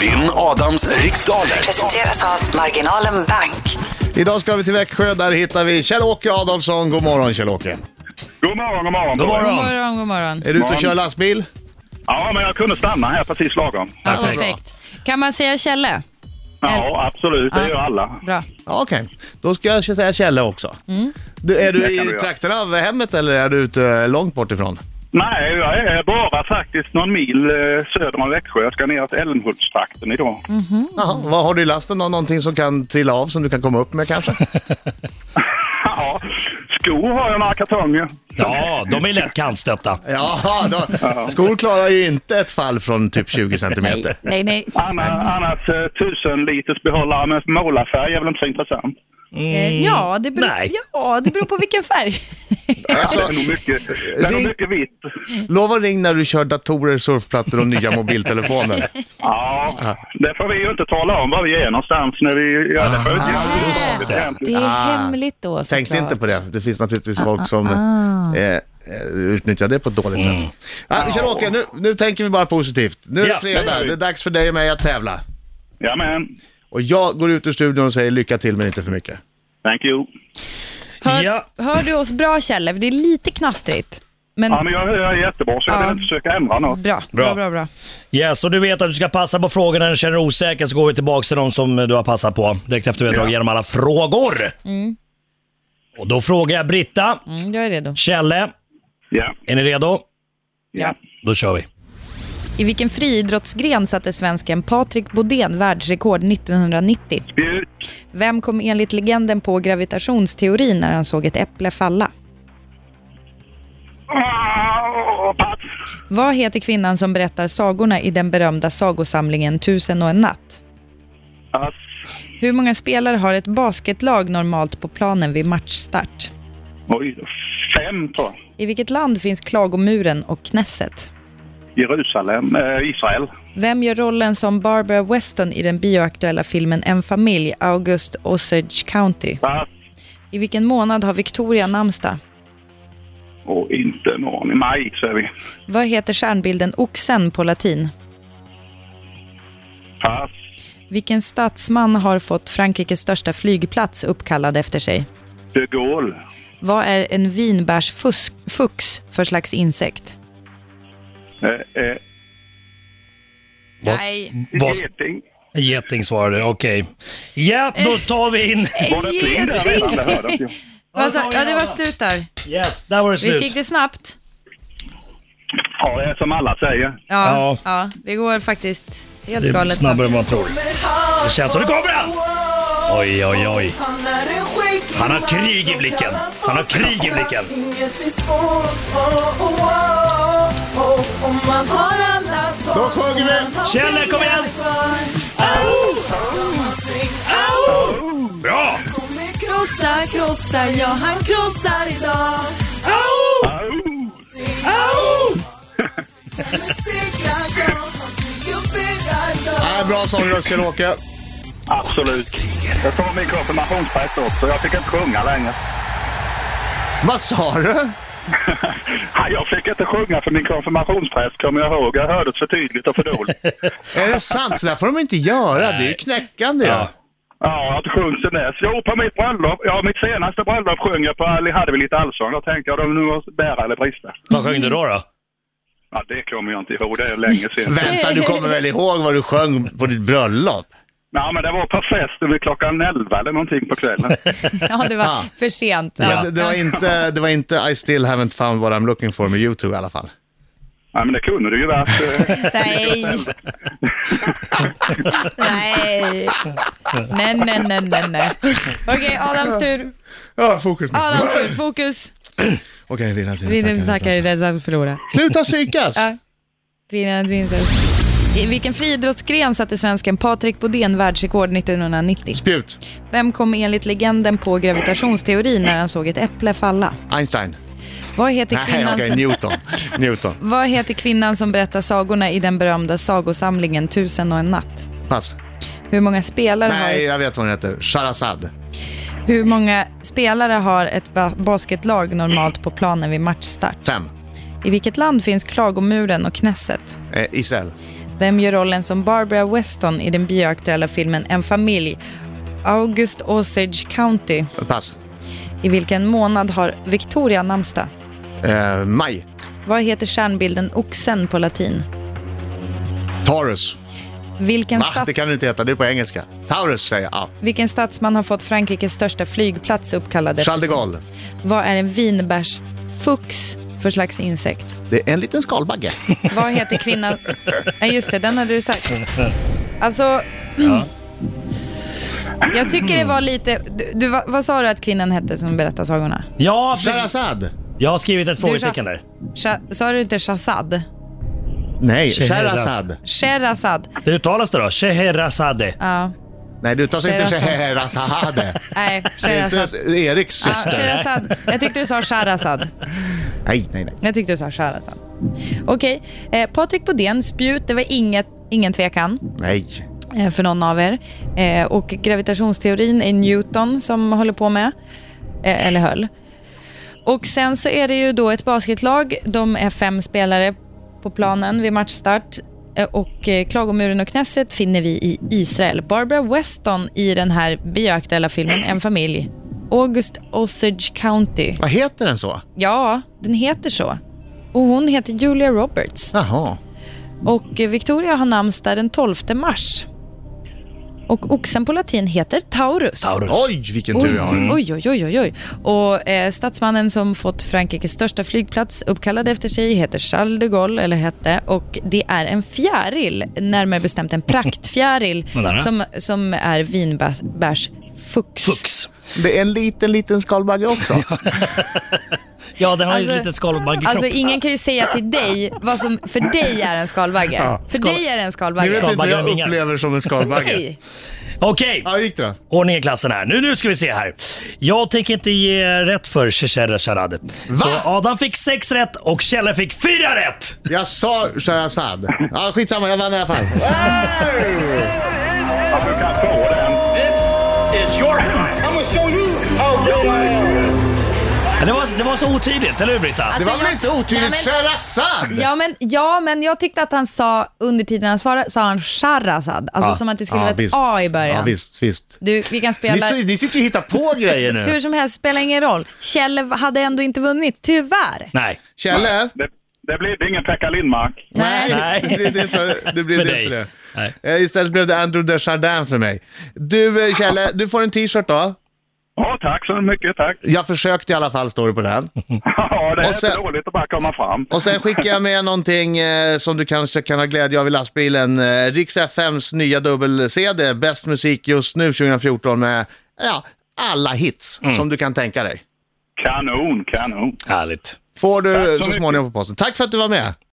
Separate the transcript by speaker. Speaker 1: Vinn Adams riksdaler.
Speaker 2: Presenteras av Marginalen Bank.
Speaker 3: Idag ska vi till Växjö, där hittar vi Kjell-Åke Adolfsson. God morgon Kjell-Åke.
Speaker 4: God morgon, god morgon.
Speaker 5: God
Speaker 6: God
Speaker 5: morgon!
Speaker 6: morgon, god morgon.
Speaker 3: Är du ute och
Speaker 4: Morgon.
Speaker 3: kör lastbil?
Speaker 4: Ja, men jag kunde stanna här precis lagom.
Speaker 6: Ja,
Speaker 5: Perfekt.
Speaker 6: perfekt. Kan man säga Kjelle?
Speaker 4: Ja, absolut. Det
Speaker 6: Ja.
Speaker 4: gör alla.
Speaker 6: Bra.
Speaker 3: Ja, okej. Då ska jag säga Kjelle också. Du, är
Speaker 4: Det
Speaker 3: du
Speaker 4: kan du
Speaker 3: i
Speaker 4: göra.
Speaker 3: trakten av hemmet eller är du ute långt bort ifrån?
Speaker 4: Nej, jag är bara faktiskt någon mil eh, söder om Växjö. Jag ska ner till Älmhultstrakten idag.
Speaker 6: Mm.
Speaker 3: Jaha, vad har du i lasten? då? Någonting som kan trilla av som du kan komma upp med kanske?
Speaker 4: Ja, skor har jag några kartonger.
Speaker 5: Ja, de är lätt kantstöpta.
Speaker 3: Jaha, då, skor klarar ju inte ett fall från typ 20 centimeter.
Speaker 6: Nej, nej. Mm.
Speaker 4: Annars, annars eh, tusen liters behållare med målarfärg är väl inte så intressant.
Speaker 6: Eh, Ja, det beror,
Speaker 5: Nej.
Speaker 6: ja, det beror på vilken färg.
Speaker 4: Det
Speaker 3: Alltså,
Speaker 4: är nog mycket, det är nog
Speaker 3: Ring-
Speaker 4: mycket vitt.
Speaker 3: lova ring när du kör datorer, surfplattor och nya mobiltelefoner.
Speaker 4: Ja, det får vi ju inte tala om var vi är någonstans när vi gör det. För det är ju
Speaker 5: just
Speaker 4: lagligt
Speaker 5: det.
Speaker 4: egentligen.
Speaker 6: Ah, Det är
Speaker 3: Ah.
Speaker 6: hemligt då såklart. Ah,
Speaker 3: Tänkte inte på det. Det finns naturligtvis folk som eh, eh, utnyttjar det på ett dåligt sätt. Ah, Kjell-Åke, nu, nu tänker vi bara positivt. Nu är det
Speaker 5: Ja,
Speaker 4: det
Speaker 3: fredag,
Speaker 4: gör vi.
Speaker 3: det är dags för dig och mig att tävla.
Speaker 4: Jajamän.
Speaker 3: Och jag går ut ur studion och säger lycka till men inte för mycket.
Speaker 4: Thank you.
Speaker 6: Hör,
Speaker 5: Ja.
Speaker 6: hör du oss bra Kjelle? För det är lite knastrigt. Men
Speaker 4: Ja, men jag hör er jättebra så jag
Speaker 6: Ja.
Speaker 4: vill inte försöka ändra något.
Speaker 6: bra, bra, bra, bra.
Speaker 5: Ja, så du vet att du ska passa på frågorna när du känner dig osäker så går vi tillbaka till de som du har passat på direkt efter vi har
Speaker 4: Ja.
Speaker 5: dragit igenom alla frågor.
Speaker 4: Mm.
Speaker 5: Och då frågar jag Britta,
Speaker 6: Mm, jag är redo.
Speaker 5: Kjelle,
Speaker 4: Ja.
Speaker 5: är ni redo?
Speaker 6: Ja.
Speaker 5: Då kör vi.
Speaker 6: I vilken friidrottsgren satte svensken Patrik Bodén världsrekord 1990?
Speaker 4: Spjut,
Speaker 6: Vem kom enligt legenden på gravitationsteorin när han såg ett äpple falla?
Speaker 4: Ah, pass,
Speaker 6: Vad heter kvinnan som berättar sagorna i den berömda sagosamlingen Tusen och en natt?
Speaker 4: pass,
Speaker 6: Hur många spelare har ett basketlag normalt på planen vid matchstart?
Speaker 4: oj, fem tror jag.
Speaker 6: I vilket land finns Klagomuren och Knesset?
Speaker 4: Jerusalem, eh, Israel.
Speaker 6: Vem gör rollen som Barbara Weston i den bioaktuella filmen En familj, August Osage County?
Speaker 4: Pass,
Speaker 6: I vilken månad har Victoria namnsdag?
Speaker 4: och inte en aning. Maj säger vi.
Speaker 6: Vad heter stjärnbilden Oxen på latin?
Speaker 4: Pass,
Speaker 6: Vilken statsman har fått Frankrikes största flygplats uppkallad efter sig?
Speaker 4: de Gaulle.
Speaker 6: Vad är en vinbärsfux för slags insekt?
Speaker 4: Eh, eh,
Speaker 6: Nej.
Speaker 5: Vad-
Speaker 4: Geting.
Speaker 5: Geting svarade, okej. Ja, då tar vi in...
Speaker 4: Var det pling där redan? Det hörde inte jag.
Speaker 6: Alltså, ja, det var slut där.
Speaker 5: Yes, där var det
Speaker 6: Visst
Speaker 5: slut.
Speaker 6: gick det snabbt?
Speaker 4: Ja, det är som alla säger.
Speaker 6: Ja,
Speaker 5: Ja.
Speaker 6: ja. det går faktiskt helt
Speaker 5: Det är
Speaker 6: galet
Speaker 5: snabbare
Speaker 6: snabbt.
Speaker 5: än man tror. Det känns som det kommer han! Oj, oj, oj.
Speaker 7: Han har krig i blicken. Han har krig i blicken.
Speaker 3: Då sjunger vi.
Speaker 5: Kjelle, kom igen! Bra!
Speaker 7: Krossar, krossar, ja han krossar idag.
Speaker 4: Au!
Speaker 3: Ja, bra sångröst Kjell-Åke.
Speaker 4: Absolut. Jag tar min konfirmationspräst också. Jag fick inte sjunga längre.
Speaker 3: Vad sa du?
Speaker 4: Ja, Jag fick inte sjunga för min konfirmationspräst kommer jag ihåg. Jag hörde det för tydligt och för dåligt.
Speaker 3: Är det sant? Så där får de inte göra. Det är ju knäckande ju.
Speaker 5: Ja.
Speaker 4: Ja, jag har inte sjungit sen dess. Jo, på mitt bröllop, ja mitt senaste bröllop sjöng jag på, hade vi lite allsång. Då tänkte jag, de nu måste bära eller brista.
Speaker 5: Vad sjöng du då? då?
Speaker 4: Ja, det kommer jag inte ihåg. Det är länge sedan.
Speaker 3: Vänta, du kommer väl ihåg vad du sjöng på ditt bröllop?
Speaker 4: Ja, men det var på festen vid klockan 11 eller någonting på kvällen.
Speaker 6: Ja, det
Speaker 3: Ja.
Speaker 6: var för sent.
Speaker 3: Men
Speaker 6: Ja.
Speaker 3: Det, det, var inte, det var inte I still haven't found what I'm looking for med YouTube i alla fall.
Speaker 4: Ja, men det kunde du ju varit. eh,
Speaker 6: Nej. nej. Nej, nej, nej, nej, nej. Okej, Adams tur.
Speaker 3: Ja, fokus nu.
Speaker 6: Adams tur. Fokus.
Speaker 3: Okej, vinna till.
Speaker 6: Vinnaren snackar i det som förlorar.
Speaker 3: Sluta psykas!
Speaker 6: Ja. Vinnaren vinner. I vilken friidrottsgren satte svensken Patrik Bodén världsrekord 1990?
Speaker 3: Spjut.
Speaker 6: Vem kom enligt legenden på gravitationsteorin när han såg ett äpple falla?
Speaker 3: Einstein.
Speaker 6: Vad heter
Speaker 3: Nej, okej,
Speaker 6: kvinnan, som,
Speaker 3: Newton. Newton.
Speaker 6: vad heter kvinnan som berättar sagorna i den berömda sagosamlingen Tusen och en natt?
Speaker 3: Pass.
Speaker 6: Hur många spelare,
Speaker 3: Nej,
Speaker 6: har,
Speaker 3: jag vet vad hon heter. Sharazad.
Speaker 6: hur många spelare har ett ba- basketlag normalt på planen vid matchstart?
Speaker 3: Fem.
Speaker 6: I vilket land finns Klagomuren och Knesset?
Speaker 3: Eh, Israel.
Speaker 6: Vem gör rollen som Barbara Weston i den bioaktuella filmen En familj? August Osage County.
Speaker 3: Pass.
Speaker 6: I vilken månad har Victoria namnsdag?
Speaker 3: Eh, maj.
Speaker 6: Vad heter stjärnbilden Oxen på latin?
Speaker 3: Taurus.
Speaker 6: Vilken,
Speaker 3: Va?
Speaker 6: stat
Speaker 3: Det kan du inte heta, det är på engelska. Taurus säger jag. Ah.
Speaker 6: vilken statsman har fått Frankrikes största flygplats uppkallad efter
Speaker 3: Charles de
Speaker 6: sig?
Speaker 3: Gaulle.
Speaker 6: Vad är en vinbärsfux för slags insekt?
Speaker 3: Det är en liten skalbagge.
Speaker 6: Vad heter kvinnan... Nej, just det, den hade du sagt. Alltså... Jag tycker det var lite... Du, du, vad, vad sa du att kvinnan hette som berättar sagorna?
Speaker 5: Ja, precis.
Speaker 3: Sherazad.
Speaker 5: jag har skrivit ett
Speaker 6: sa-
Speaker 5: frågetecken där.
Speaker 6: Sha, sa du inte Shazad?
Speaker 3: Nej,
Speaker 5: Scheherazade.
Speaker 3: Sherazad.
Speaker 6: Sherazad?
Speaker 5: Hur uttalas det då? Scheherazade.
Speaker 6: Ja.
Speaker 3: Nej, du tar sig inte
Speaker 6: Scheherazade.
Speaker 3: Sheherazade.
Speaker 6: Nej,
Speaker 3: Det är
Speaker 6: Sherazad.
Speaker 3: inte Eriks
Speaker 6: Ja,
Speaker 3: syster.
Speaker 6: Sherazad. Jag tyckte du sa Sharazad.
Speaker 3: Nej, nej, nej.
Speaker 6: Jag tyckte du sa Sharazad. Okej, eh, Patrik Bodén, spjut, det var inget, ingen tvekan.
Speaker 3: Nej.
Speaker 6: eh, för någon av er. Eh, Och gravitationsteorin är Newton som håller på med, eh, eller höll. Och sen så är det ju då ett basketlag. De är fem spelare på planen vid matchstart. Eh, Och eh, Klagomuren och Knesset finner vi i Israel. Barbara Weston i den här bioaktuella filmen En familj. August Osage County.
Speaker 3: Vad heter den så?
Speaker 6: Ja, den heter så. Och hon heter Julia Roberts.
Speaker 3: Jaha.
Speaker 6: Och eh, Victoria har namnsdag den 12 mars. Och oxen på latin heter Taurus.
Speaker 5: Taurus.
Speaker 3: Oj, vilken tur jag har. Mm.
Speaker 6: Oj, oj, oj, oj, oj. Och eh, statsmannen som fått Frankrikes största flygplats uppkallad efter sig heter Charles de Gaulle, eller hette, och det är en fjäril, närmare bestämt en praktfjäril,
Speaker 5: Vadå?
Speaker 6: som, som är vinbärsfux.
Speaker 5: Fux.
Speaker 3: Det är en liten, liten skalbagge också.
Speaker 5: Ja, den har ju ett
Speaker 6: Alltså-
Speaker 5: litet skalbagge
Speaker 6: Alltså ingen kan ju säga till dig vad som för dig är en skalbagge. för
Speaker 5: Skal-
Speaker 6: dig är det en
Speaker 3: Det
Speaker 6: skalbagge.
Speaker 3: vet inte
Speaker 5: Skalbagge
Speaker 3: jag
Speaker 5: med vingar.
Speaker 3: upplever som en skalbagge.
Speaker 6: Nej.
Speaker 5: Okej,
Speaker 3: Ja, hur gick det då?
Speaker 5: ordning i klassen här. Nu, nu ska vi se här. Jag tänker inte ge rätt för Scheherazade. Så Adam fick sex rätt och Kjelle fick fyra rätt.
Speaker 3: Jag sa Sherazad. Ja, skitsamma, jag vann i alla fall. Hey!
Speaker 4: Att du kan få den.
Speaker 5: Men Det var, det var så otydligt, eller hur Britta?
Speaker 3: Det
Speaker 6: Alltså,
Speaker 3: var väl
Speaker 6: jag-
Speaker 3: inte otydligt?
Speaker 6: Nej, men-
Speaker 3: Sherazad!
Speaker 6: Ja men, ja, men jag tyckte att han sa, under tiden han svarade, sa han Sharazad. Alltså som att det skulle
Speaker 3: Ja,
Speaker 6: vara ett
Speaker 3: visst.
Speaker 6: A i början.
Speaker 3: Ja, visst, visst.
Speaker 6: Du, vi kan
Speaker 3: Ni,
Speaker 6: spela...
Speaker 3: så- ni sitter ju och hittar på grejer
Speaker 6: Hur
Speaker 3: nu.
Speaker 6: som helst, spelar ingen roll. Kjell hade ändå inte vunnit, tyvärr.
Speaker 5: Nej.
Speaker 3: Kjelle?
Speaker 4: Det, det blir ingen Pekka Lindmark.
Speaker 6: Nej.
Speaker 5: Nej.
Speaker 3: det blev inte det. Blev
Speaker 5: För
Speaker 3: det,
Speaker 5: dig.
Speaker 3: inte
Speaker 5: Nej.
Speaker 3: det. Eh, Istället blev det Andrew Desjardins för mig. Du eh, Kjelle, du får en t-shirt då.
Speaker 4: Ja, tack så mycket. Tack.
Speaker 3: Jag försökte i alla fall, står det på den.
Speaker 4: Ja, det är
Speaker 3: Och sen-
Speaker 4: inte dåligt att bara komma fram.
Speaker 3: Och sen skickar jag med någonting eh, som du kanske kan ha glädje av i lastbilen. Eh, Rix FMs nya dubbel-CD, Bäst musik just nu 2014 med ja, alla hits som du kan tänka dig.
Speaker 4: Kanon, kanon.
Speaker 5: Härligt.
Speaker 3: Får
Speaker 4: så
Speaker 3: du så
Speaker 4: mycket.
Speaker 3: småningom på posten. Tack för att du var med.